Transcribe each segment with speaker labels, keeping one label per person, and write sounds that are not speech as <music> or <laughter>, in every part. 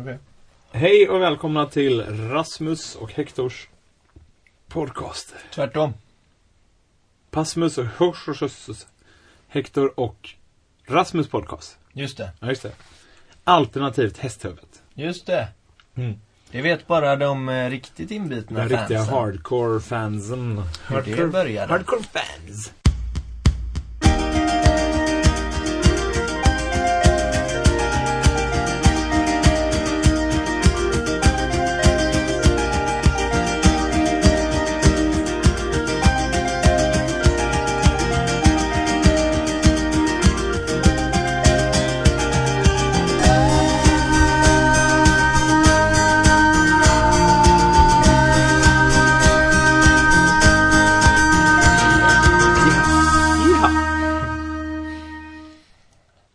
Speaker 1: Okej.
Speaker 2: Hej och välkomna till Rasmus och Hektors podcast.
Speaker 1: Tvärtom.
Speaker 2: Pasmus och Hörsjösjösjös. Hektor och Rasmus podcast.
Speaker 1: Just det.
Speaker 2: Ja, just det. Alternativt hästhuvudet.
Speaker 1: Just det.
Speaker 2: Mm.
Speaker 1: Det vet bara de eh, riktigt inbitna
Speaker 2: Den
Speaker 1: fansen.
Speaker 2: riktiga hardcore fansen.
Speaker 1: Hur det började.
Speaker 2: hardcore fans.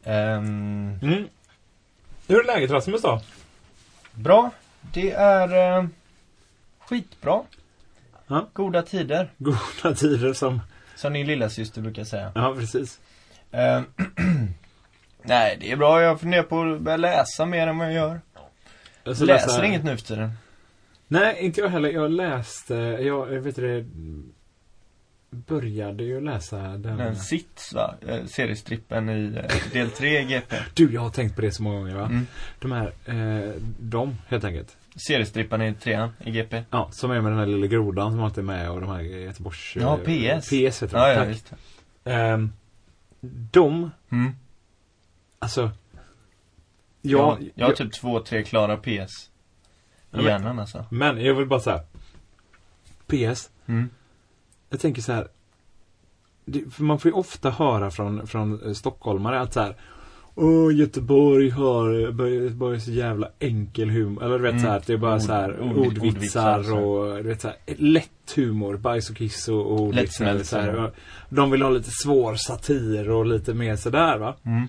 Speaker 1: Ehm,
Speaker 2: Mm. Hur är läget Rasmus då?
Speaker 1: bra. Det är eh, skitbra.
Speaker 2: Ja.
Speaker 1: Goda tider,
Speaker 2: Goda tider som...
Speaker 1: som din lilla syster brukar säga.
Speaker 2: Ja, precis.
Speaker 1: Ehm, <clears throat> Nej, det är bra. Jag funderar på att börja läsa mer än vad jag gör.
Speaker 2: Jag ska
Speaker 1: Läser
Speaker 2: läsa-
Speaker 1: inget nu för tiden.
Speaker 2: Nej, inte jag heller. Jag läste, jag, jag vet du det, började ju läsa den.
Speaker 1: Den Sits, va? Eh, seriestrippen i eh, del 3 GP.
Speaker 2: Du, jag har tänkt på det så många gånger va?
Speaker 1: Mm.
Speaker 2: De här, eh, de helt enkelt.
Speaker 1: Seriestrippan i trean i GP.
Speaker 2: Ja, som är med den här lilla grodan som alltid är med och de här Göteborgs...
Speaker 1: Ja,
Speaker 2: eh,
Speaker 1: PS.
Speaker 2: PS heter de,
Speaker 1: Ja, ja,
Speaker 2: tack.
Speaker 1: visst.
Speaker 2: Ehm, de,
Speaker 1: Mm.
Speaker 2: alltså...
Speaker 1: Ja,
Speaker 2: Jag,
Speaker 1: jag, har typ två, tre klara PS.
Speaker 2: Ja,
Speaker 1: I
Speaker 2: men-
Speaker 1: hjärnan alltså.
Speaker 2: Men jag vill bara säga PS,
Speaker 1: Mm.
Speaker 2: Jag tänker så här. Det, för man får ju ofta höra från, från eh, stockholmare att så här. Åh, Göteborg har, Göteborg är så jävla enkel humor. Eller du vet
Speaker 1: Mm.
Speaker 2: så här, det är bara
Speaker 1: Ord-
Speaker 2: så här
Speaker 1: ord-
Speaker 2: ordvitsar
Speaker 1: ordvitsar,
Speaker 2: och du vet så här, lätt humor. Bajs och kiss och, och ordvitsar. liksom
Speaker 1: Lättsmält
Speaker 2: Så här.
Speaker 1: humor.
Speaker 2: Och De vill ha lite svår satir och lite mer sådär va.
Speaker 1: Mm.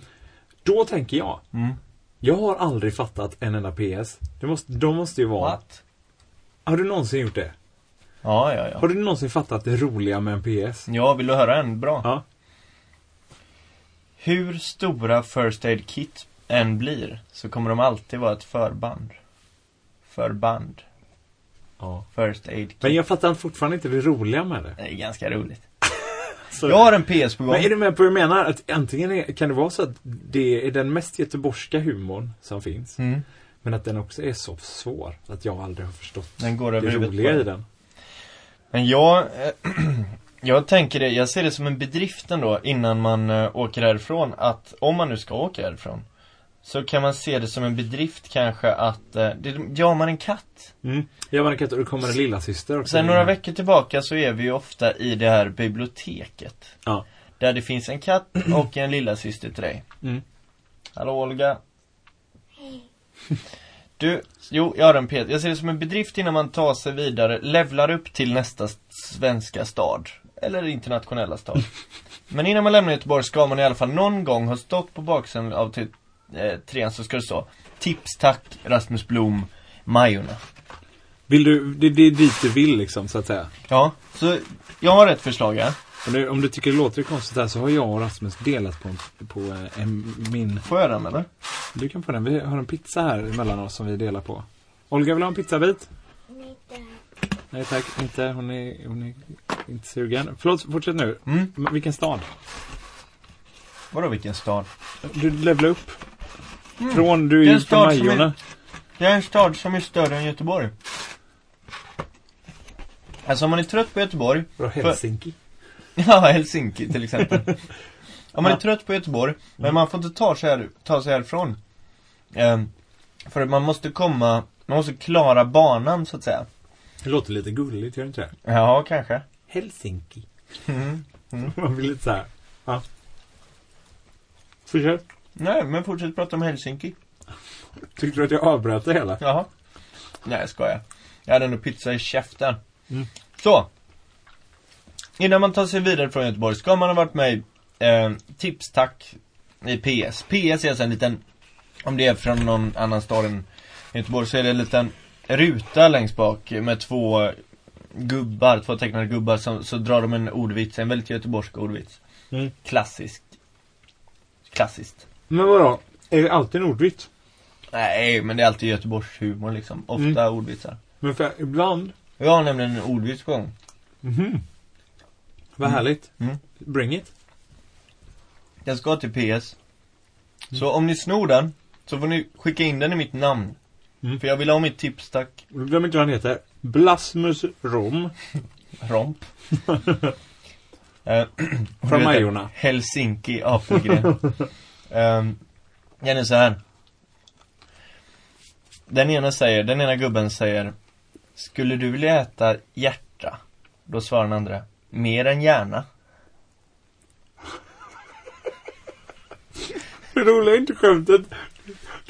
Speaker 2: Då tänker jag.
Speaker 1: Mm.
Speaker 2: Jag har aldrig fattat en enda PS. Det måste, de måste ju vara...
Speaker 1: What?
Speaker 2: Har du någonsin gjort det?
Speaker 1: Ja, ja, ja.
Speaker 2: Har du någonsin fattat det roliga med en PS?
Speaker 1: Ja, vill du höra en bra?
Speaker 2: Ja.
Speaker 1: Hur stora First Aid Kit än blir så kommer de alltid vara ett förband. Förband.
Speaker 2: ja.
Speaker 1: First Aid Kit.
Speaker 2: Men jag fattar fortfarande inte det roliga med det.
Speaker 1: Det är ganska roligt.
Speaker 2: Så-
Speaker 1: Jag har en PS på gång.
Speaker 2: Men är du med på vad jag menar? Att antingen är, kan det vara så att det är den mest göteborgska humorn som finns.
Speaker 1: Mm.
Speaker 2: Men att den också är så svår att jag aldrig har förstått
Speaker 1: Den går över
Speaker 2: det
Speaker 1: huvudet
Speaker 2: roliga
Speaker 1: på
Speaker 2: i
Speaker 1: en.
Speaker 2: den.
Speaker 1: Men jag, <clears throat> eh, jag tänker det, jag ser det som en bedrift ändå innan man eh, åker härifrån att om man nu ska åka härifrån så kan man se det som en bedrift kanske att, eh, det, gör man en katt?
Speaker 2: Mm. Jag menar att det kommer en lilla syster också.
Speaker 1: Sen några veckor tillbaka så är vi ju ofta i det här biblioteket.
Speaker 2: Ja.
Speaker 1: Där det finns en katt och en lilla syster till dig.
Speaker 2: Mm.
Speaker 1: Hallå Olga. Du, jo, jag har en pet. Jag ser det som en bedrift innan man tar sig vidare, levlar upp till nästa s- svenska stad. Eller internationella stad. Men innan man lämnar Göteborg ska man i alla fall någon gång ha stått på baksidan av till, eh, trean så ska det stå Tips tack Rasmus Blom, Majorna.
Speaker 2: Vill du, det, det är dit du vill liksom så att säga.
Speaker 1: Ja, så jag har ett förslag här.
Speaker 2: Och nu, om du tycker det låter konstigt här så har jag och Rasmus delat på, en, på eh, en, min...
Speaker 1: Får jag den eller?
Speaker 2: Du kan få den. Vi har en pizza här mellan oss som vi delar på. Olga vill ha en pizzabit? Nej tack, inte. Hon är, hon är inte sugen. Förlåt, fortsätt nu.
Speaker 1: Mm.
Speaker 2: Men Vilken stad?
Speaker 1: Vadå vilken stad?
Speaker 2: Du levlar upp. Från, du
Speaker 1: Mm. Det
Speaker 2: är
Speaker 1: är
Speaker 2: ju från
Speaker 1: en stad som
Speaker 2: Majorna.
Speaker 1: Det är en stad som är större än Göteborg. Alltså om man är trött på Göteborg
Speaker 2: Från Helsinki.
Speaker 1: <laughs> Ja, Helsinki till exempel. Om man är
Speaker 2: Ja.
Speaker 1: trött på Göteborg, men man får inte ta sig, här, ta sig härifrån. Ehm, för att man måste komma, man måste klara banan så att säga.
Speaker 2: Det låter lite gulligt, gör det inte det?
Speaker 1: Ja, kanske.
Speaker 2: Helsinki.
Speaker 1: Mm.
Speaker 2: Man blir lite såhär, ja. Fortsätt.
Speaker 1: Nej, men fortsätt prata om Helsinki.
Speaker 2: Tyckte du att jag avbröt det hela?
Speaker 1: Jaha. Nej, jag skojar. Jag hade ändå pizza i käften.
Speaker 2: Mm.
Speaker 1: Så. Innan man tar sig vidare från Göteborg ska man ha varit med i eh, Tips Tack i PS. PS är alltså en liten, om det är från någon annan stad än Göteborg så är det en liten ruta längst bak med två gubbar, två tecknade gubbar som, så drar de en ordvits, en väldigt göteborgsk ordvits.
Speaker 2: Mm.
Speaker 1: Klassisk. Klassiskt.
Speaker 2: Men vadå? Är det alltid en ordvits?
Speaker 1: Nej, men det är alltid Göteborgs humor liksom. Ofta
Speaker 2: Mm.
Speaker 1: ordvitsar.
Speaker 2: Men för, ibland...
Speaker 1: Jag har nämligen en ordvits på gång.
Speaker 2: Mhm. Vad
Speaker 1: Mm.
Speaker 2: härligt.
Speaker 1: Mm.
Speaker 2: Bring it.
Speaker 1: Den ska till PS. Så om ni snor den, så får ni skicka in den i mitt namn.
Speaker 2: Mm.
Speaker 1: För jag vill ha mitt tips, tack.
Speaker 2: Glöm inte vad han heter. Blasmus Rom. <laughs>
Speaker 1: Romp. Eh, <clears throat> och
Speaker 2: Från
Speaker 1: du vet,
Speaker 2: Majorna.
Speaker 1: Helsinki Apelgren.
Speaker 2: <laughs>
Speaker 1: um, den är så här. Den ena säger, den ena gubben säger Skulle du vilja äta hjärta? Då svarar den andra Mer än gärna.
Speaker 2: Det roliga är inte skämtet.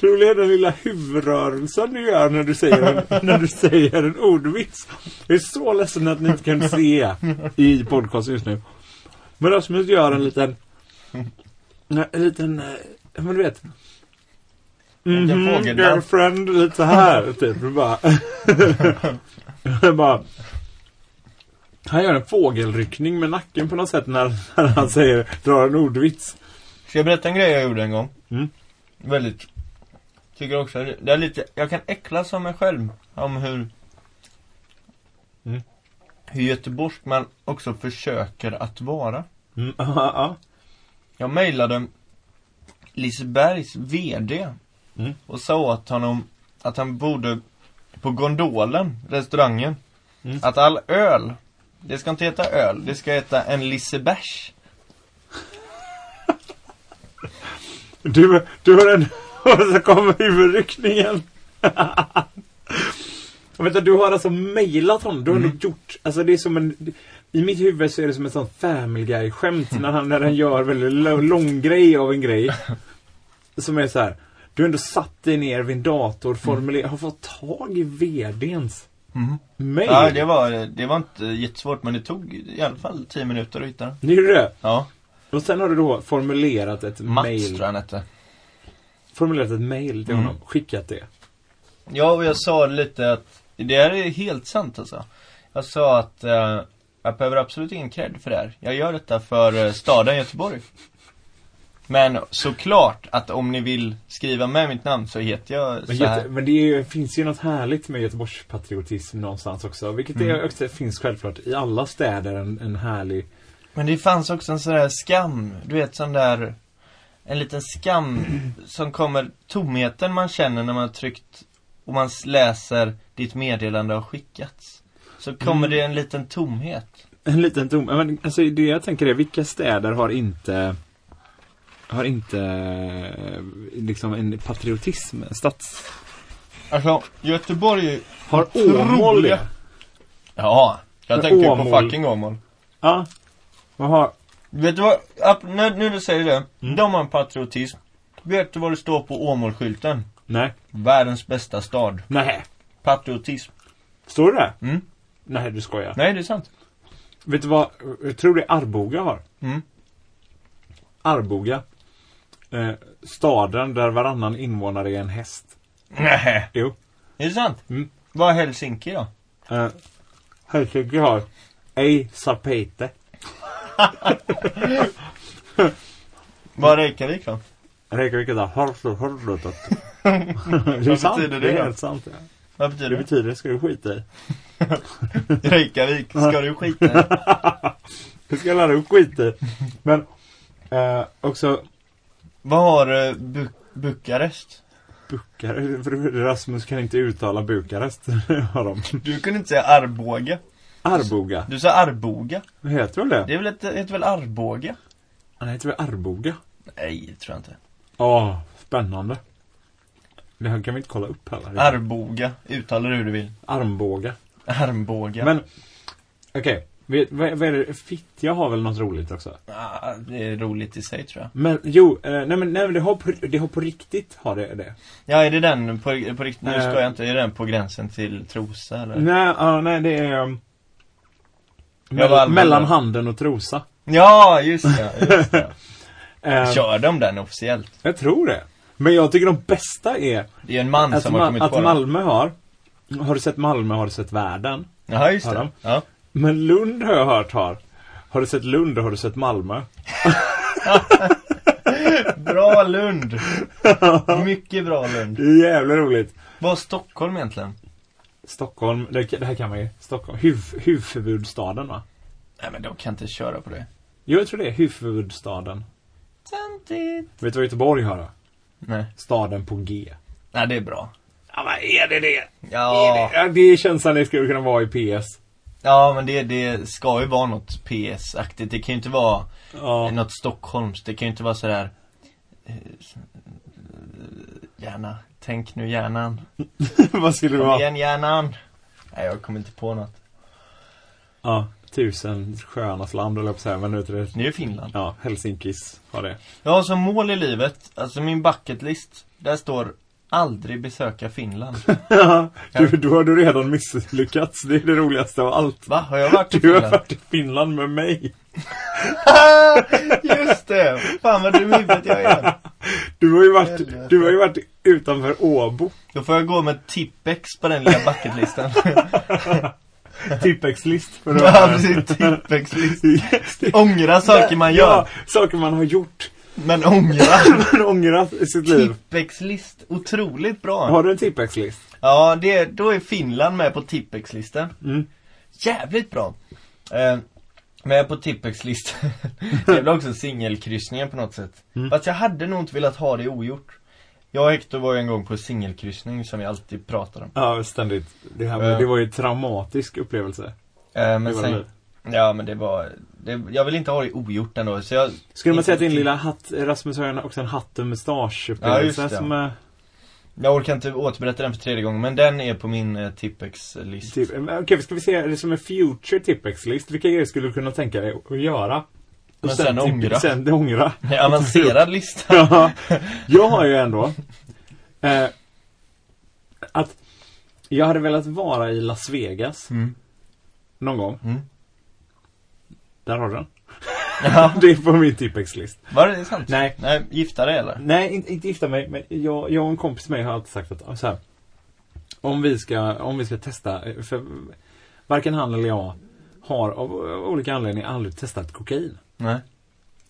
Speaker 2: Det roliga är den lilla huvudrörelsen du gör när du säger
Speaker 1: <laughs>
Speaker 2: en, när du säger en ordvits. Jag är så ledsen att ni inte kan se i podcasten just nu. Men Rasmus gör en liten... En liten... eh, Men du vet.
Speaker 1: En liten
Speaker 2: Mhm,
Speaker 1: fågeldans.
Speaker 2: girlfriend, lite så
Speaker 1: <laughs>
Speaker 2: här. Typ. Och Bara. <laughs> Jag bara... Han gör en fågelryckning med nacken på något sätt när, när han säger drar en ordvits.
Speaker 1: Ska jag berätta en grej jag gjorde en gång?
Speaker 2: Mm.
Speaker 1: Väldigt Tycker också, det är lite, jag kan äcklas av mig själv om hur
Speaker 2: Mm.
Speaker 1: Hur göteborgsk man också försöker att vara
Speaker 2: Mm, ja, ja, ja.
Speaker 1: Jag mejlade Lisebergs VD
Speaker 2: Mm.
Speaker 1: och sa åt honom att han borde på gondolen, restaurangen,
Speaker 2: Mm.
Speaker 1: att all öl, det ska inte heta öl, det ska heta en Lisebärs.
Speaker 2: Du, du har en... <laughs> Och så kommer huvudryckningen. <laughs> Vänta, du har alltså mejlat honom. Du har mm. gjort... Alltså det är som en... I mitt huvud så är det som en sån family guy-skämt när han, när han gör väldigt l- lång grej av en
Speaker 1: <laughs>
Speaker 2: grej. Som är så här. Du har ändå satt dig ner vid en dator, formulerat, har fått tag i VDns mejl.
Speaker 1: Ja, det var, det var inte jättesvårt men det tog i alla fall 10 minuter att hitta den.
Speaker 2: det är det.
Speaker 1: Ja,
Speaker 2: Och sen har du då formulerat ett
Speaker 1: Mats
Speaker 2: mejl.
Speaker 1: tror jag han hette.
Speaker 2: Formulerat ett mejl till
Speaker 1: Mm.
Speaker 2: honom. Skickat det.
Speaker 1: Ja, och jag sa lite att, det här är helt sant alltså. Jag sa att eh, jag behöver absolut ingen cred för det här. Jag gör detta för eh, staden Göteborg. Men såklart att om ni vill skriva med mitt namn så heter jag
Speaker 2: Men,
Speaker 1: så här.
Speaker 2: Göte, men det är, ju- finns ju något härligt med Göteborgspatriotism någonstans också. Vilket det
Speaker 1: Mm.
Speaker 2: också finns självklart i alla städer en, en härlig...
Speaker 1: Men det fanns också en sån där skam, du vet sån där En liten skam som kommer, tomheten man känner när man har tryckt och man s- läser ditt meddelande har skickats Så kommer
Speaker 2: Mm.
Speaker 1: det en liten tomhet
Speaker 2: En liten tom... Men alltså det jag tänker är, vilka städer har inte... Har inte eh, liksom en patriotism? En stats...
Speaker 1: Alltså, Göteborg
Speaker 2: Har
Speaker 1: Otroliga.
Speaker 2: Åmål det?
Speaker 1: Ja, jag
Speaker 2: Men
Speaker 1: tänker ju på
Speaker 2: Åmål.
Speaker 1: fucking Åmål
Speaker 2: Ja. Vad har...
Speaker 1: Vet du vad, ap- nu, nu du säger det, de har en patriotism Vet du vad det står på Åmålskylten?
Speaker 2: Nej.
Speaker 1: Världens bästa stad
Speaker 2: Nej.
Speaker 1: Patriotism
Speaker 2: Står det där?
Speaker 1: Mm.
Speaker 2: Nej, du skojar.
Speaker 1: Nej, det är sant
Speaker 2: Vet du vad? Jag tror det är Arboga har.
Speaker 1: Mm. <laughs>
Speaker 2: Arboga. Eh, staden där varannan invånare är en häst.
Speaker 1: Nej.
Speaker 2: Jo.
Speaker 1: Är det sant?
Speaker 2: Mm.
Speaker 1: Vad är Helsinki då?
Speaker 2: Eh, Helsinki har ej sapete.
Speaker 1: Vad är Reykjavik då?
Speaker 2: Reykjavik har hörlu hörlutat. Det är sant.
Speaker 1: betyder det
Speaker 2: Det
Speaker 1: då?
Speaker 2: är helt sant. ja.
Speaker 1: Vad betyder
Speaker 2: Det
Speaker 1: det?
Speaker 2: betyder det ska du skita i.
Speaker 1: Reykjavik, ska du skita i?
Speaker 2: Det ska alla du skita i. Men eh, också
Speaker 1: Vad har eh, Bu- Bukarest?
Speaker 2: Bukarest. för Rasmus kan inte uttala <laughs> Bukarest. har de.
Speaker 1: Du kunde inte säga Arboga.
Speaker 2: Arboga.
Speaker 1: Du sa Arboga.
Speaker 2: Vad heter väl det?
Speaker 1: Det är väl ett, heter väl Arboga?
Speaker 2: Han heter väl Arboga?
Speaker 1: Nej, det tror jag inte.
Speaker 2: Ja, spännande. Det här kan vi inte kolla upp heller.
Speaker 1: Arboga, uttala det hur du vill.
Speaker 2: Armbåga.
Speaker 1: Armboga.
Speaker 2: Men, okej. vet- Vad, vad är det? Fittja har väl något roligt också?
Speaker 1: Ah, det är roligt i sig tror jag.
Speaker 2: Men jo, eh, nej men, nej, men det, har på, det har på riktigt har det det.
Speaker 1: Ja, är det den på, på riktigt? Nu
Speaker 2: Eh. Mm.
Speaker 1: ska jag inte. Är det den på gränsen till Trosa eller?
Speaker 2: Nej, ja, nej det är... Um,
Speaker 1: Jag var allmän-
Speaker 2: mellan handen och trosa.
Speaker 1: Ja, just det. Just
Speaker 2: <laughs>
Speaker 1: det.
Speaker 2: Eh,
Speaker 1: Kör de den officiellt?
Speaker 2: Jag tror det. Men jag tycker de bästa är
Speaker 1: Det är ju en man
Speaker 2: att,
Speaker 1: Mm, som har
Speaker 2: Alltså ma-
Speaker 1: kommit på
Speaker 2: att
Speaker 1: den.
Speaker 2: Malmö har... Har du sett Malmö har du sett världen.
Speaker 1: Jaha, just
Speaker 2: har
Speaker 1: det.
Speaker 2: de?
Speaker 1: Ja.
Speaker 2: Men Lund har jag hört har. Har du sett Lund och har du sett Malmö?
Speaker 1: Bra Lund! Mycket bra Lund.
Speaker 2: Det är jävla roligt.
Speaker 1: Vad är Stockholm egentligen?
Speaker 2: Stockholm, det, det här kan man ju. Stockholm. Huv, huvudstaden va?
Speaker 1: Nej men de kan inte köra på det.
Speaker 2: Jo, jag tror det är huvudstaden.
Speaker 1: Samtidigt.
Speaker 2: Vet du vad Göteborg har då?
Speaker 1: Nej.
Speaker 2: Staden på G.
Speaker 1: Nej det är bra.
Speaker 2: Ja, vad är det det? Är
Speaker 1: Ja,
Speaker 2: det? Ja, det känns som det skulle kunna vara i PS.
Speaker 1: ja men det, det ska ju vara något PS-aktigt. Det kan ju inte vara
Speaker 2: Ja.
Speaker 1: något Stockholms. Det kan ju inte vara sådär... eh, s- eh, Hjärna. Tänk nu hjärnan.
Speaker 2: <laughs> vad skulle det
Speaker 1: Kom
Speaker 2: vara?
Speaker 1: igen hjärnan. Nej jag kommer inte på något.
Speaker 2: Ja, tusen sjöarnas land eller på så här, men nu till det.
Speaker 1: Nu är Finland.
Speaker 2: Ja, Helsinkis har det.
Speaker 1: Jag har som mål i livet, alltså min bucketlist, där står aldrig besöka Finland.
Speaker 2: <laughs> du, då har du redan misslyckats. Det är det roligaste av allt.
Speaker 1: Va? Har jag varit i
Speaker 2: Du har
Speaker 1: Finland?
Speaker 2: varit i Finland med mig.
Speaker 1: <laughs> Just det! Fan vad dum i huvudet jag är.
Speaker 2: Du har ju varit,
Speaker 1: Helvete.
Speaker 2: du har ju varit utanför Åbo.
Speaker 1: Då får jag gå med Tippex på den lilla
Speaker 2: <laughs>
Speaker 1: bucketlistan.
Speaker 2: Tippexlist. för att-
Speaker 1: <laughs> ja precis, Tippex-list.
Speaker 2: <laughs>
Speaker 1: Ångra saker man
Speaker 2: Ja,
Speaker 1: gör.
Speaker 2: saker man har gjort. <laughs>
Speaker 1: Men ångra.
Speaker 2: Man ångrat i
Speaker 1: Typ.
Speaker 2: sitt liv.
Speaker 1: Tippex-list, otroligt bra.
Speaker 2: Har du en tippexlist?
Speaker 1: Ja, det, då är Finland med på Tippex-listan.
Speaker 2: Mm.
Speaker 1: Jävligt bra! Eh, med på Tippex-listan. <laughs> det blev också singelkryssningen på något sätt.
Speaker 2: Mm.
Speaker 1: Fast jag hade nog inte velat ha det ogjort. Jag och Hector var ju en gång på singelkryssning som vi alltid pratar om.
Speaker 2: Ja, ständigt. Det, här,
Speaker 1: Ja.
Speaker 2: det var ju en traumatisk upplevelse.
Speaker 1: Eh,
Speaker 2: Det
Speaker 1: men
Speaker 2: var
Speaker 1: sen,
Speaker 2: det.
Speaker 1: ja men det var, det, jag vill inte ha det ogjort ändå så jag,
Speaker 2: Skulle man
Speaker 1: Inte
Speaker 2: säga att din
Speaker 1: riktigt.
Speaker 2: lilla hatt, Rasmus har ju en- också en hatt och mustasch
Speaker 1: Ja, just
Speaker 2: upplevelse
Speaker 1: det.
Speaker 2: som är
Speaker 1: jag orkar inte återberätta den för tredje gången men den är på min eh, Tippex-list.
Speaker 2: typ, men okej ska vi se det som en future tippex-list. Vilka grejer skulle du kunna tänka dig att göra? Och
Speaker 1: Men sen
Speaker 2: typ-
Speaker 1: ångra.
Speaker 2: Sen
Speaker 1: <laughs>
Speaker 2: ångra.
Speaker 1: En <laughs> avancerad lista.
Speaker 2: Ja, jag har ju ändå eh, att jag hade velat vara i Las Vegas
Speaker 1: Mm.
Speaker 2: någon gång.
Speaker 1: Mm.
Speaker 2: Där har du den.
Speaker 1: Ja,
Speaker 2: <laughs> Det är på min tippex-list.
Speaker 1: var det sant?
Speaker 2: Nej.
Speaker 1: Nej, gifta dig eller?
Speaker 2: Nej, inte, inte gifta mig. Men jag, jag och en kompis med mig har alltid sagt att så här, om, vi ska, om vi ska testa, eh, för varken han eller jag har av av olika anledningar aldrig testat kokain.
Speaker 1: Nej.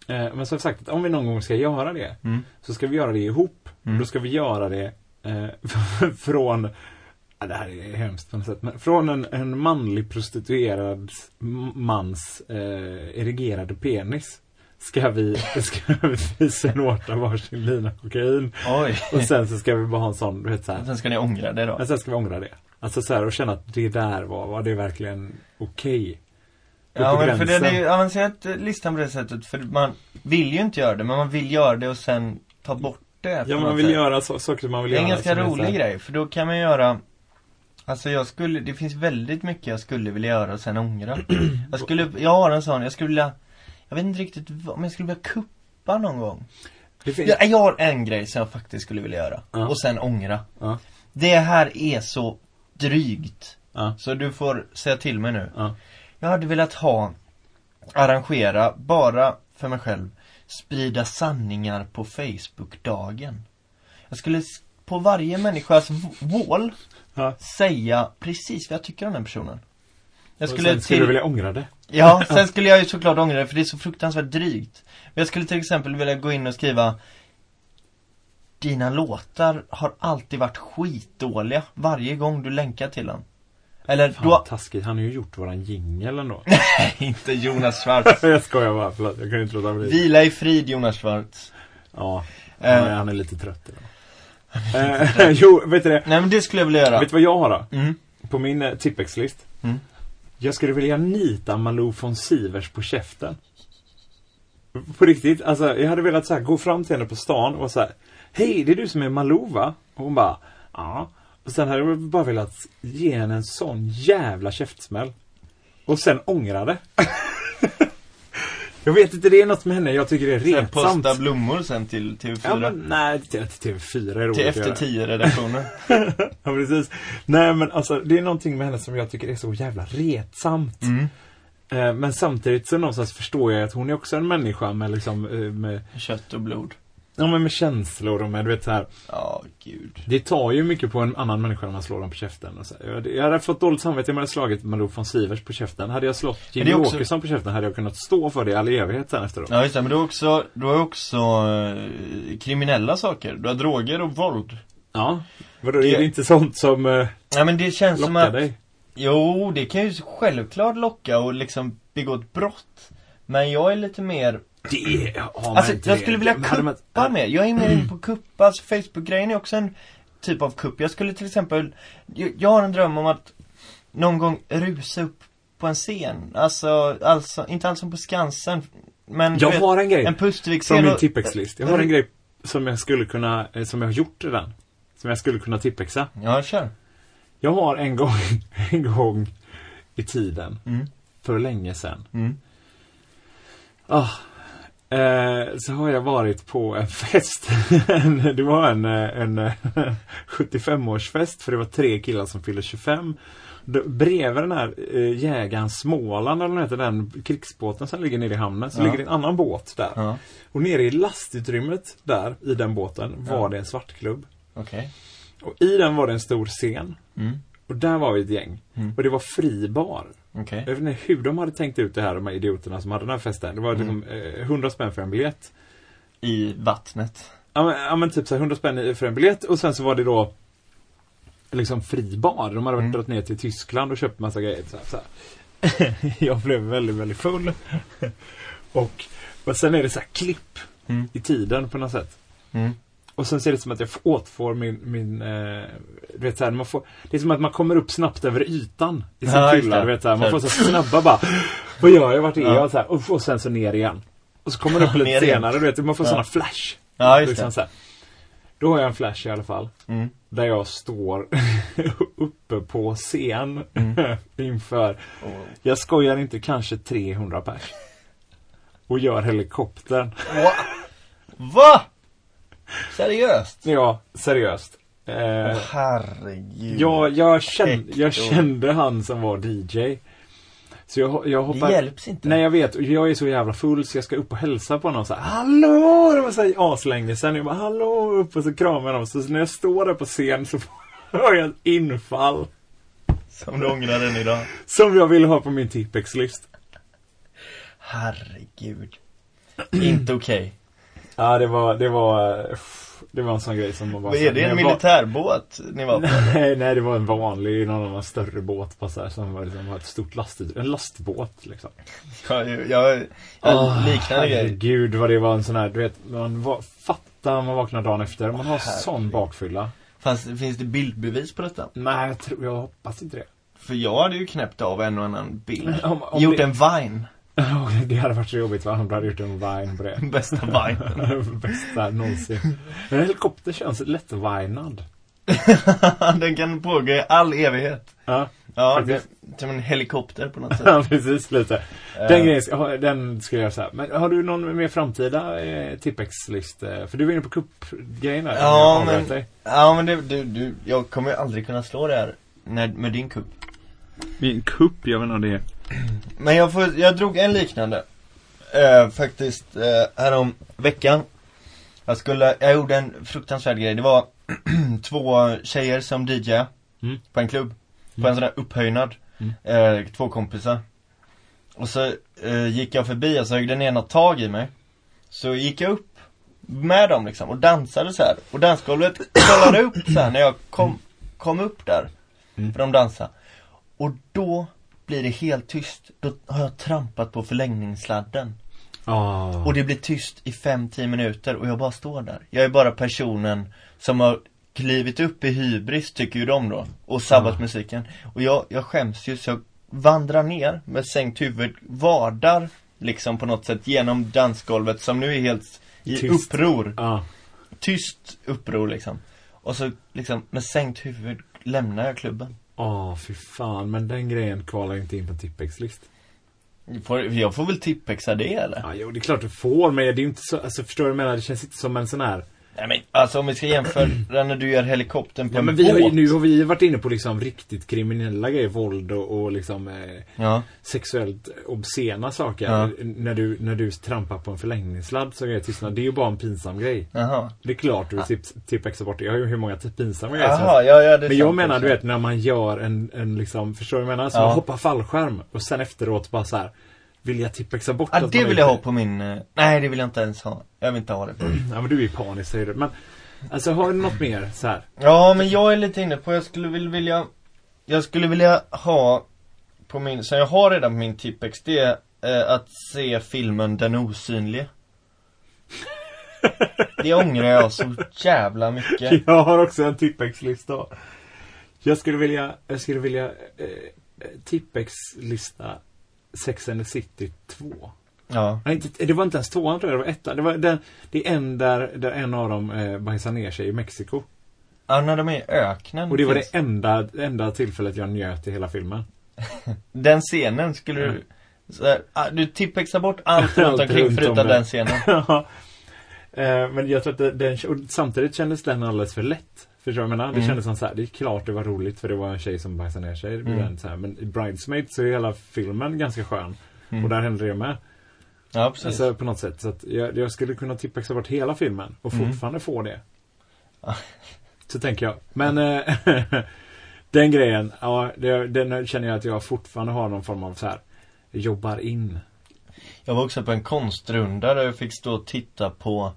Speaker 2: Eh, Men så har vi sagt att om vi någon gång ska göra det
Speaker 1: Mm.
Speaker 2: så ska vi göra det ihop.
Speaker 1: Mm.
Speaker 2: Då ska vi göra det eh, <laughs> från, ja, det här är hemskt på något sätt, men från en, en manlig prostituerad m- mans eh, erigerade penis. Ska vi, <laughs> ska vi snorta varsin lina kokain
Speaker 1: Oj.
Speaker 2: <laughs> och sen så ska vi bara ha en sån, du vet så här.
Speaker 1: Sen ska ni ångra det då?
Speaker 2: Men sen ska vi ångra det. Alltså så här och känna att det där var, var det verkligen okej? Gå
Speaker 1: Ja
Speaker 2: på
Speaker 1: men för det,
Speaker 2: gränsen.
Speaker 1: det är ju avancerat eh, listan på det sättet för man vill ju inte göra det men man vill göra det och sen ta bort det på
Speaker 2: Ja, man
Speaker 1: något
Speaker 2: vill
Speaker 1: sätt.
Speaker 2: göra så, saker man vill
Speaker 1: Det är
Speaker 2: göra.
Speaker 1: en ganska
Speaker 2: som är så
Speaker 1: rolig
Speaker 2: här-
Speaker 1: grej för då kan man göra Alltså jag skulle, det finns väldigt mycket jag skulle vilja göra och sen ångra Jag skulle, jag har en sån, jag skulle vilja Jag vet inte riktigt vad- om jag skulle vilja kuppa någon gång
Speaker 2: Det finns,
Speaker 1: jag, jag har en grej som jag faktiskt skulle vilja göra
Speaker 2: Ja.
Speaker 1: och sen ångra
Speaker 2: Ja.
Speaker 1: Det här är så drygt
Speaker 2: Ja.
Speaker 1: Så du får säga till mig nu
Speaker 2: Ja.
Speaker 1: Jag hade velat ha Arrangera, bara för mig själv Sprida sanningar på Facebook-dagen Jag skulle s- på varje människas v- vål
Speaker 2: Ja.
Speaker 1: Säga precis vad jag tycker om den personen Jag
Speaker 2: Och
Speaker 1: skulle
Speaker 2: sen skulle du
Speaker 1: till
Speaker 2: vilja ångra det.
Speaker 1: Ja, <laughs> sen skulle jag ju såklart ångra det för det är så fruktansvärt drygt. Men jag skulle till exempel vilja gå in och skriva Dina låtar har alltid varit skitdåliga varje gång du länkar till dem. Eller
Speaker 2: Fan
Speaker 1: då...
Speaker 2: vad taskigt, han har ju gjort våran jingel
Speaker 1: <laughs>
Speaker 2: ändå.
Speaker 1: Nej, inte Jonas Schwartz.
Speaker 2: jag skojar bara, förlåt. Jag kunde inte låta bli.
Speaker 1: <laughs> Vila i frid Jonas Schwartz.
Speaker 2: Ja,
Speaker 1: Eh,
Speaker 2: han är, han är lite trött idag. Eh, <laughs> jo, vet du det?
Speaker 1: Nej men det skulle jag vilja göra.
Speaker 2: Vet du vad jag har då?
Speaker 1: Mm.
Speaker 2: På min eh, tippexlist.
Speaker 1: Mm.
Speaker 2: Jag skulle vilja nita Malou von Sivers på käften. På riktigt, alltså jag hade velat så här, gå fram till henne på stan och så här. Hej, det är du som är Malou va? Och hon bara, ja. Och sen hade jag bara velat ge henne en sån jävla käftsmäll. Och sen ångra det. <laughs> jag vet inte, det är något med henne jag tycker är
Speaker 1: Sen
Speaker 2: retsamt.
Speaker 1: posta blommor sen till TV4.
Speaker 2: Ja, men, nej, till till TV4 är roligt
Speaker 1: till
Speaker 2: att göra.
Speaker 1: Efter
Speaker 2: <laughs>
Speaker 1: 10 redaktionen.
Speaker 2: Ja precis. Nej men alltså det är någonting med henne som jag tycker är så jävla retsamt.
Speaker 1: Mm.
Speaker 2: Eh, Men samtidigt så någonstans förstår jag att hon är också en människa med liksom eh, med
Speaker 1: Kött och blod.
Speaker 2: Ja men med känslor och med du vet så här.
Speaker 1: Ja, gud.
Speaker 2: Det tar ju mycket på en annan människa när man slår dem på käften. Och så här. Jag- Jag hade fått dåligt samvete om jag hade slagit Malou von Sivers på käften. Hade jag slått Jimmy
Speaker 1: det är också-
Speaker 2: Åkesson på käften hade jag kunnat stå för det i all evighet sen efteråt.
Speaker 1: Ja just det, men du har också, du har också eh, kriminella saker. Du har droger och våld.
Speaker 2: Ja. Vadå,
Speaker 1: Det-
Speaker 2: är det inte sånt som eh,
Speaker 1: Ja men det känns som
Speaker 2: lockar
Speaker 1: att,
Speaker 2: dig?
Speaker 1: jo det kan ju självklart locka och liksom begå ett brott. Men jag är lite mer,
Speaker 2: Det har man
Speaker 1: alltså
Speaker 2: inte-
Speaker 1: jag skulle vilja
Speaker 2: Men hade man-
Speaker 1: kuppa mer. Jag är mer inne
Speaker 2: <clears throat>
Speaker 1: på kuppa, alltså Facebook-grejen är också en typ av kupp. Jag skulle till exempel, jag, jag har en dröm om att någon gång rusa upp på en scen. Alltså, alltså inte alls som på Skansen. Men du
Speaker 2: Jag har en grej.
Speaker 1: en Pustervik-scen
Speaker 2: Från min
Speaker 1: och-
Speaker 2: tippexlist. Jag har en grej som jag skulle kunna, eh, som jag har gjort redan. Som jag skulle kunna tippexa.
Speaker 1: Ja, kör.
Speaker 2: Jag har en gång, <laughs> en gång i tiden,
Speaker 1: Mm.
Speaker 2: för länge sedan.
Speaker 1: Mm.
Speaker 2: Ah, eh, så har jag varit på en <laughs> fest. En- det var en, eh, en eh, <laughs> 75-årsfest för det var tre killar som fyllde 25. Då, bredvid den här eh, jägaren Småland, eller vad den heter, den krigsbåten som ligger nere i hamnen, så
Speaker 1: Ja.
Speaker 2: ligger det en annan båt där.
Speaker 1: Ja,
Speaker 2: Och nere i lastutrymmet där, i den båten, var
Speaker 1: Ja.
Speaker 2: det en svartklubb.
Speaker 1: okej.
Speaker 2: Och i den var det en stor scen.
Speaker 1: Mm,
Speaker 2: Och där var vi ett gäng.
Speaker 1: Mm.
Speaker 2: Och det var fri bar.
Speaker 1: okej.
Speaker 2: Jag vet inte hur de hade tänkt ut det här, de här idioterna som hade den här festen. Det var liksom eh, 100 spänn för en biljett.
Speaker 1: I vattnet.
Speaker 2: Ja men, ja, men typ så här, 100 spänn i- för en biljett och sen så var det då liksom fri bar. De hade varit
Speaker 1: Mm.
Speaker 2: dragit ner till Tyskland och köpt massa grejer. Så här, så här. <laughs> Jag blev väldigt, väldigt full. <laughs> och, och sen är det så här klipp
Speaker 1: Mm.
Speaker 2: i tiden på något sätt.
Speaker 1: Mm.
Speaker 2: Och sen ser det som att jag f- återfår min, min eh, du vet så här, man får, det är som att man kommer upp snabbt över ytan i sin
Speaker 1: Ja, just
Speaker 2: fylla,
Speaker 1: det.
Speaker 2: du vet så här, man
Speaker 1: Så
Speaker 2: får så
Speaker 1: här.
Speaker 2: snabba bara, vad gör jag, vart är
Speaker 1: Ja.
Speaker 2: jag, så här, och, och sen så ner igen. Och så kommer det upp lite
Speaker 1: Ner igen.
Speaker 2: senare, du vet, man får
Speaker 1: Ja.
Speaker 2: sådana flash.
Speaker 1: Ja, just
Speaker 2: Liksom
Speaker 1: det.
Speaker 2: så här. Då har jag en flash i alla fall,
Speaker 1: Mm.
Speaker 2: där jag står <laughs> uppe på scen
Speaker 1: Mm.
Speaker 2: <laughs> inför, jag skojar inte, kanske 300 pers. Och gör helikoptern.
Speaker 1: Va? Va? Seriöst?
Speaker 2: Ja, seriöst. Eh,
Speaker 1: Åh, herregud.
Speaker 2: Jag, jag, kände,
Speaker 1: Perfekt.
Speaker 2: jag kände han som var DJ. Så jag, jag
Speaker 1: det
Speaker 2: hoppar...
Speaker 1: hjälps inte.
Speaker 2: Nej jag vet, och jag är så jävla full så jag ska upp och hälsa på honom så här, Hallå! Det var så här aslänge sedan. Jag bara hallå! Upp och så kramar jag honom. Så när jag står där på scen så <laughs> har jag ett infall.
Speaker 1: Som du ångrar den idag.
Speaker 2: Som jag vill ha på min tippexlist.
Speaker 1: Herregud. inte okej.
Speaker 2: <clears throat> Ja det var, det var, eh, det var en sån grej som man bara...
Speaker 1: Vad
Speaker 2: så här,
Speaker 1: är det? En
Speaker 2: när jag var-
Speaker 1: militärbåt ni var på?
Speaker 2: <laughs> Nej, nej, det var en vanlig, någon annan större båt bara så här, som var liksom, var ett stort lastbil, en lastbåt liksom.
Speaker 1: Jag, jag, jag
Speaker 2: Åh,
Speaker 1: liknande
Speaker 2: Ah,
Speaker 1: grej.
Speaker 2: Herregud vad det var en sån här, du vet, man va, fattar man vaknar dagen efter. Man har
Speaker 1: herregud.
Speaker 2: sån bakfylla.
Speaker 1: Fast, finns det bildbevis på detta?
Speaker 2: Nej, jag tror, jag hoppas inte det. <laughs>
Speaker 1: För jag hade ju knäppt av en och annan bild.
Speaker 2: Om- om
Speaker 1: Gjort
Speaker 2: det-
Speaker 1: en vine.
Speaker 2: det hade varit så jobbigt va, om du hade gjort en vine på det. <laughs>
Speaker 1: Bästa vine.
Speaker 2: Bästa någonsin. Men en helikopter känns lätt vinad.
Speaker 1: <laughs> den kan pågå i all evighet.
Speaker 2: Ja, <laughs>
Speaker 1: Ja, det,
Speaker 2: Faktiskt.
Speaker 1: som en helikopter på något sätt.
Speaker 2: ja, precis lite. <laughs> Den
Speaker 1: Eh,
Speaker 2: grejen, ska- ha- den skulle jag säga. Men har du någon mer framtida eh, tippex-list? eh, För du var inne på cupgrejen där.
Speaker 1: Ja,
Speaker 2: Jag avbröt
Speaker 1: men-
Speaker 2: dig.
Speaker 1: Ja men du, du, du, jag kommer ju aldrig kunna slå det här när, med din kupp.
Speaker 2: Min kupp, jag vet inte vad det är.
Speaker 1: Men jag, får, jag drog en liknande. Eh, faktiskt eh, härom veckan. Jag skulle, jag gjorde en fruktansvärd grej. Det var <clears throat> två tjejer som DJ
Speaker 2: Mm.
Speaker 1: på en klubb. På
Speaker 2: Mm.
Speaker 1: en sån här upphöjnad. Eh, två kompisar. Och så eh, gick jag förbi och så högg den ena tag i mig. Så gick jag upp med dem liksom och dansade så här. Och dansgolvet kollade upp så här när jag kom, kom upp där.
Speaker 2: Mm.
Speaker 1: För de dansade. Och då blir det helt tyst. Då har jag trampat på förlängningssladden.
Speaker 2: Ah.
Speaker 1: Och det blir tyst i 5-10 minuter och jag bara står där. Jag är bara personen som har klivit upp i hybris, tycker ju de då. Och sabbat
Speaker 2: Ja.
Speaker 1: musiken. Och jag, jag skäms ju så jag vandrar ner med sänkt huvud, vadar liksom på något sätt genom dansgolvet som nu är helt i
Speaker 2: Tyst.
Speaker 1: uppror.
Speaker 2: Ja.
Speaker 1: Tyst uppror liksom. Och så liksom med sänkt huvud lämnar jag klubben.
Speaker 2: Åh, fy fan. Men den grejen kvalar inte in på Tippex list.
Speaker 1: Får- Jag får väl tippexa det eller?
Speaker 2: Ja, jo, det är klart du får, men det är ju inte så... Alltså, förstår du vad jag menar? Det känns inte som en sån här...
Speaker 1: Nej men alltså om vi
Speaker 2: <clears throat>
Speaker 1: ska jämföra när du gör helikoptern på
Speaker 2: Ja,
Speaker 1: en
Speaker 2: men vi har ju,
Speaker 1: båt.
Speaker 2: nu har vi varit inne på liksom riktigt kriminella grejer, våld och, och liksom eh,
Speaker 1: Ja.
Speaker 2: sexuellt obscena saker.
Speaker 1: Ja.
Speaker 2: När, du, när du trampar på en förlängningssladd så är jag tystnad. Det är ju bara en pinsam grej.
Speaker 1: Jaha.
Speaker 2: Det är klart du tips, tipexar bort det. Jag har ju hur många pinsamma grejer som
Speaker 1: Jaha,
Speaker 2: helst.
Speaker 1: ja, ja, det är
Speaker 2: Men jag
Speaker 1: sant, det är
Speaker 2: menar du
Speaker 1: sant.
Speaker 2: vet när man gör en, en liksom, förstår du vad jag menar? Som
Speaker 1: Ja.
Speaker 2: att hoppa fallskärm och sen efteråt bara så här vill jag tippexa bort
Speaker 1: Ja,
Speaker 2: att
Speaker 1: det
Speaker 2: man
Speaker 1: vill
Speaker 2: är-
Speaker 1: jag ha på min... eh, Nej, det vill jag inte ens ha. Jag vill inte ha det på min.
Speaker 2: Ja men du är ju panisk säger du. Men alltså har du något mer så här?
Speaker 1: Ja, men jag är lite inne på, jag skulle väl vilja... Jag skulle vilja ha på min, som jag har redan på min Tippex, det är eh, att se filmen
Speaker 2: <laughs>
Speaker 1: Den Osynlige. Det ångrar jag så jävla mycket.
Speaker 2: <laughs> Jag har också en tippexlista. Jag skulle vilja, jag skulle vilja eh, tippexlista Sex and the City 2.
Speaker 1: Ja.
Speaker 2: Nej, inte, det var inte ens tvåan tror jag, det var ettan. Det, var den, det är en där, där en av dem eh, bajsar ner sig i Mexiko.
Speaker 1: ja, när de är i öknen.
Speaker 2: Och det var
Speaker 1: finns-
Speaker 2: det enda, enda tillfället jag njöt i hela
Speaker 1: <laughs>
Speaker 2: filmen.
Speaker 1: Den scenen skulle du... Så här, ah, du tippexar bort allt runt
Speaker 2: <laughs> Allt
Speaker 1: omkring
Speaker 2: runt om
Speaker 1: förutom
Speaker 2: det.
Speaker 1: den scenen.
Speaker 2: Ja. Eh, Men jag tror att det- den, och samtidigt kändes den alldeles för lätt. Förstår du vad jag menar? Det
Speaker 1: Mm.
Speaker 2: kändes som så här, det är klart det var roligt för det var en tjej som bajsade ner sig.
Speaker 1: Mm.
Speaker 2: Mm. Så här, men i Bridesmaid så är hela filmen ganska skön. <laughs>
Speaker 1: Mm.
Speaker 2: Och där hände det med.
Speaker 1: Ja, precis.
Speaker 2: Alltså på något sätt. Så att jag, jag skulle kunna tippexa bort hela filmen och
Speaker 1: Mm. Ah.
Speaker 2: fortfarande få det.
Speaker 1: Ja.
Speaker 2: Så tänker jag. Men eh, <laughs> den grejen, ja, det, den känner jag att jag fortfarande har någon form av så här jobbar in.
Speaker 1: Jag var också på en konstrunda där jag fick stå och titta på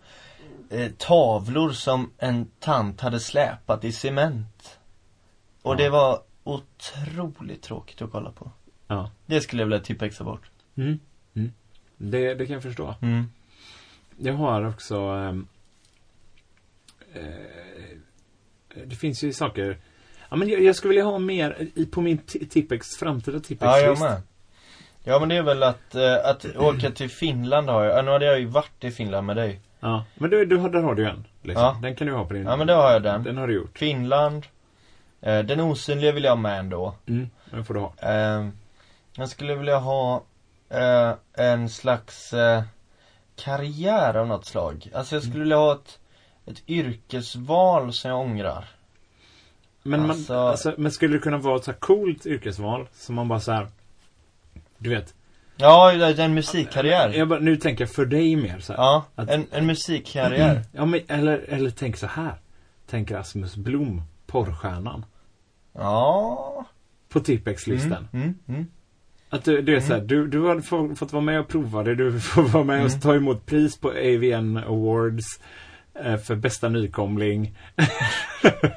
Speaker 1: eh, tavlor som en tant hade släpat i cement. Och
Speaker 2: Ja.
Speaker 1: det var otroligt tråkigt att kolla på.
Speaker 2: Ja.
Speaker 1: Det skulle jag vilja tippexa bort.
Speaker 2: Mm. Mm. Det, det kan jag förstå.
Speaker 1: Mm.
Speaker 2: Jag har också ehm, eh, Det finns ju saker Ja men jag, jag skulle vilja ha mer i, på min ti- tippex, framtida
Speaker 1: Ja, jag
Speaker 2: tippexlist.
Speaker 1: med. Ja men det är väl att, eh,
Speaker 2: <clears throat>
Speaker 1: att åka till Finland har jag. Ja, Nu hade jag ju varit i Finland med dig.
Speaker 2: Ja, men du, du, har- där har du en. Liksom.
Speaker 1: Ja.
Speaker 2: Den kan du ha på din.
Speaker 1: Ja men då har jag den.
Speaker 2: Den har du gjort.
Speaker 1: Finland. Eh, den osynliga vill jag ha med ändå.
Speaker 2: Mm. Den får du ha.
Speaker 1: Eh, jag skulle vilja ha eh, en slags eh, karriär av något slag. Alltså jag skulle vilja ha ett, ett yrkesval som jag ångrar.
Speaker 2: Men, man,
Speaker 1: Alltså-
Speaker 2: alltså... men skulle det kunna vara ett så här coolt yrkesval? Som man bara så här. Du vet.
Speaker 1: Ja, en musikkarriär.
Speaker 2: Jag bara, nu tänker jag för dig mer så här.
Speaker 1: Ja,
Speaker 2: Att-
Speaker 1: en, en musikkarriär.
Speaker 2: Ja, men, eller, eller tänk så här. Tänk Rasmus Blom, porrstjärnan.
Speaker 1: Ja.
Speaker 2: På tippexlistan.
Speaker 1: Mm, mm, mm.
Speaker 2: Att du, du är såhär, du, du har få- fått vara med och prova det, du får vara med
Speaker 1: Mm.
Speaker 2: och ta emot pris på AVN Awards eh, för bästa nykomling.
Speaker 1: Är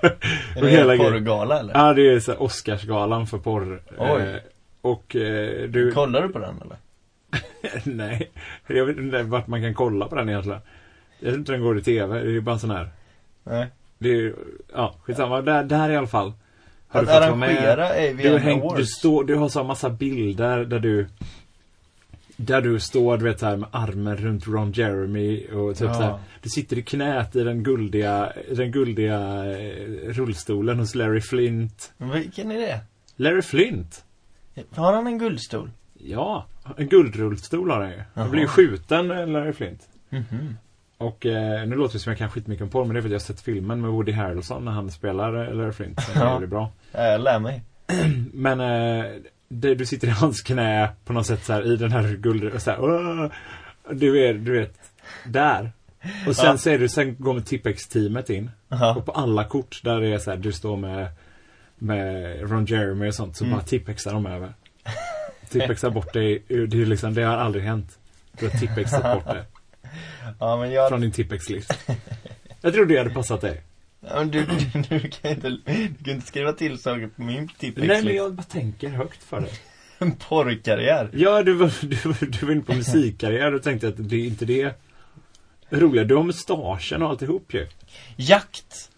Speaker 2: Och
Speaker 1: det
Speaker 2: hela
Speaker 1: en
Speaker 2: grejen.
Speaker 1: porrgala eller?
Speaker 2: Ja, det är så här Oscarsgalan för porr.
Speaker 1: Oj.
Speaker 2: Eh, och eh, du...
Speaker 1: Kollar du på den eller?
Speaker 2: <laughs> nej, jag vet inte vart man kan kolla på den egentligen. Jag tror inte den går i TV, det är bara en sån här.
Speaker 1: Nej.
Speaker 2: Det är ju, ja, skitsamma. Där, där i alla fall. Har
Speaker 1: Att
Speaker 2: du fått vara med.
Speaker 1: arrangera
Speaker 2: Du har,
Speaker 1: AVN
Speaker 2: hängt, du,
Speaker 1: Awards.
Speaker 2: står, du har så här massa bilder där du Där du står du vet så här med armen runt Ron Jeremy och typ
Speaker 1: Ja.
Speaker 2: så här, Du sitter i knät i den guldiga, i den guldiga eh, rullstolen hos Larry Flint
Speaker 1: Men Vilken är det?
Speaker 2: Larry Flint?
Speaker 1: Har han en guldstol?
Speaker 2: Ja, en guldrullstol har han ju.
Speaker 1: Jaha.
Speaker 2: Han blir ju skjuten eh, Larry Flint
Speaker 1: Mhm.
Speaker 2: och eh, nu låter det som jag kan skitmycket om porr men det är för att jag har sett filmen med Woody Harrelson när han spelar eh, Larry Flint. Den
Speaker 1: Ja.
Speaker 2: är jävligt bra.
Speaker 1: Ja, jag Äh, lär mig.
Speaker 2: Men eh, det, du sitter i hans knä på något sätt så här, i den här guld och så här, "Åh!" du är, du vet, där. Och sen
Speaker 1: Ja.
Speaker 2: så är du, sen går Tippex-teamet in.
Speaker 1: Ja.
Speaker 2: <laughs> Och på alla kort där det är så här, du står med, med Ron Jeremy och sånt, så
Speaker 1: Mm.
Speaker 2: bara Tippexar de över. Tippexar bort dig, ur- det är liksom, det har aldrig hänt. Du har
Speaker 1: <laughs>
Speaker 2: Tippexat bort det
Speaker 1: ja men jag
Speaker 2: från din Tippex-list. Jag tror det hade passat dig.
Speaker 1: Ja, men du, du, du, kan inte, du kan inte skriva till saker på min
Speaker 2: Nej men
Speaker 1: tippexlista.
Speaker 2: jag bara tänker högt för dig.
Speaker 1: En porrkarriär.
Speaker 2: Ja, du var, <laughs> du, var- du var inne på musikkarriär och tänkte att det är inte det roliga. Du har mustaschen och alltihop ju.
Speaker 1: Jakt.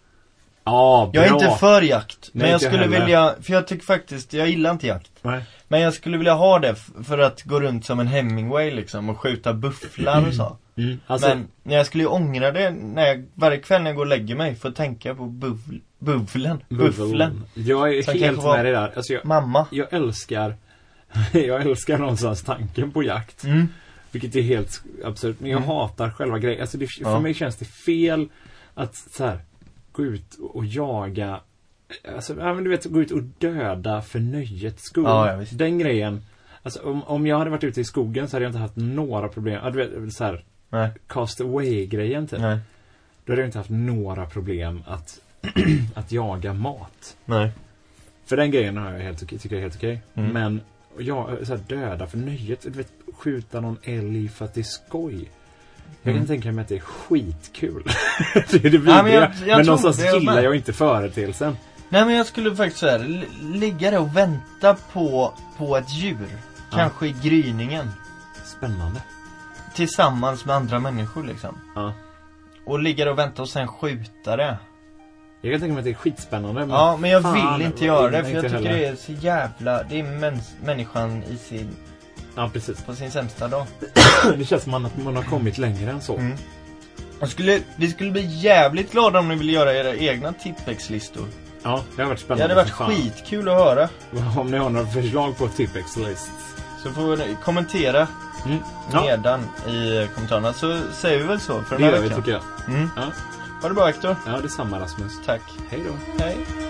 Speaker 2: Ja, bra.
Speaker 1: Jag är inte för jakt. Men
Speaker 2: Nej,
Speaker 1: jag
Speaker 2: inte
Speaker 1: skulle
Speaker 2: heller.
Speaker 1: vilja, för jag tycker faktiskt, jag gillar inte jakt.
Speaker 2: Nej.
Speaker 1: Men jag skulle vilja ha det f- för att gå runt som en Hemingway liksom och skjuta bufflar och så.
Speaker 2: Mm. <clears throat> Alltså,
Speaker 1: men men jag skulle ju ångra det när jag, varje kväll när jag går och lägger mig för att tänka på buffl, bufflen. Bufflen.
Speaker 2: Jag är
Speaker 1: Som kanske
Speaker 2: helt
Speaker 1: var-
Speaker 2: med dig där. Alltså, jag,
Speaker 1: Mamma.
Speaker 2: jag älskar <laughs> jag älskar någonstans tanken på jakt.
Speaker 1: Mm.
Speaker 2: Vilket är helt absurt. Men jag hatar själva grejen. Alltså det, för
Speaker 1: Ja.
Speaker 2: mig känns det fel Att så här, gå ut och jaga, alltså, ja, men du vet, gå ut och döda för nöjets skull.
Speaker 1: Ja, ja, visst.
Speaker 2: Den grejen. Alltså, om, om jag hade varit ute i skogen så hade jag inte haft några problem. Ja, du vet, så här,
Speaker 1: Nej.
Speaker 2: cast away-grejen typ.
Speaker 1: Nej.
Speaker 2: Då hade jag inte haft några problem att, <clears throat> att jaga mat.
Speaker 1: Nej.
Speaker 2: För den grejen har jag helt okej, tycker jag är helt okej.
Speaker 1: Mm.
Speaker 2: Men ja, så här, döda för nöjet. Du vet, skjuta någon älg för att det är skoj. Jag
Speaker 1: Mm.
Speaker 2: kan tänka mig att det är skitkul. <laughs> det är det vidriga.
Speaker 1: Ja, men
Speaker 2: men
Speaker 1: jag- jag tror
Speaker 2: någonstans
Speaker 1: det, jag
Speaker 2: gillar
Speaker 1: med.
Speaker 2: jag inte företeelsen.
Speaker 1: Nej men jag skulle faktiskt säga ligga där och vänta på, på ett djur.
Speaker 2: Ja.
Speaker 1: Kanske i gryningen.
Speaker 2: Spännande.
Speaker 1: Tillsammans med andra människor liksom.
Speaker 2: Ja.
Speaker 1: Och ligga där och vänta och sen skjuta det.
Speaker 2: Jag kan tänka mig att det är skitspännande. Men
Speaker 1: Ja men jag
Speaker 2: fan,
Speaker 1: vill inte
Speaker 2: vad
Speaker 1: göra
Speaker 2: vill
Speaker 1: det
Speaker 2: jag
Speaker 1: för jag
Speaker 2: inte
Speaker 1: tycker
Speaker 2: heller.
Speaker 1: det är så jävla, det är mäns, människan i sin,
Speaker 2: ja, precis.
Speaker 1: på sin sämsta dag.
Speaker 2: Det känns som att man har kommit längre än så.
Speaker 1: Mm. Jag skulle, vi skulle bli jävligt glada om ni ville göra era egna tippexlistor.
Speaker 2: Ja, det har varit
Speaker 1: Det
Speaker 2: spännande.
Speaker 1: hade varit
Speaker 2: som fan.
Speaker 1: skitkul att höra.
Speaker 2: Om ni har några förslag på typ Tipex-list.
Speaker 1: Så får ni kommentera
Speaker 2: Mm. Ja,
Speaker 1: nedan i kommentarerna så säger vi väl så för
Speaker 2: det
Speaker 1: den här
Speaker 2: gör vi
Speaker 1: veckan.
Speaker 2: tycker jag.
Speaker 1: Mm.
Speaker 2: Ja.
Speaker 1: Ha det bra Hector.
Speaker 2: Ja, detsamma Rasmus.
Speaker 1: Tack.
Speaker 2: Hej då.
Speaker 1: Hej.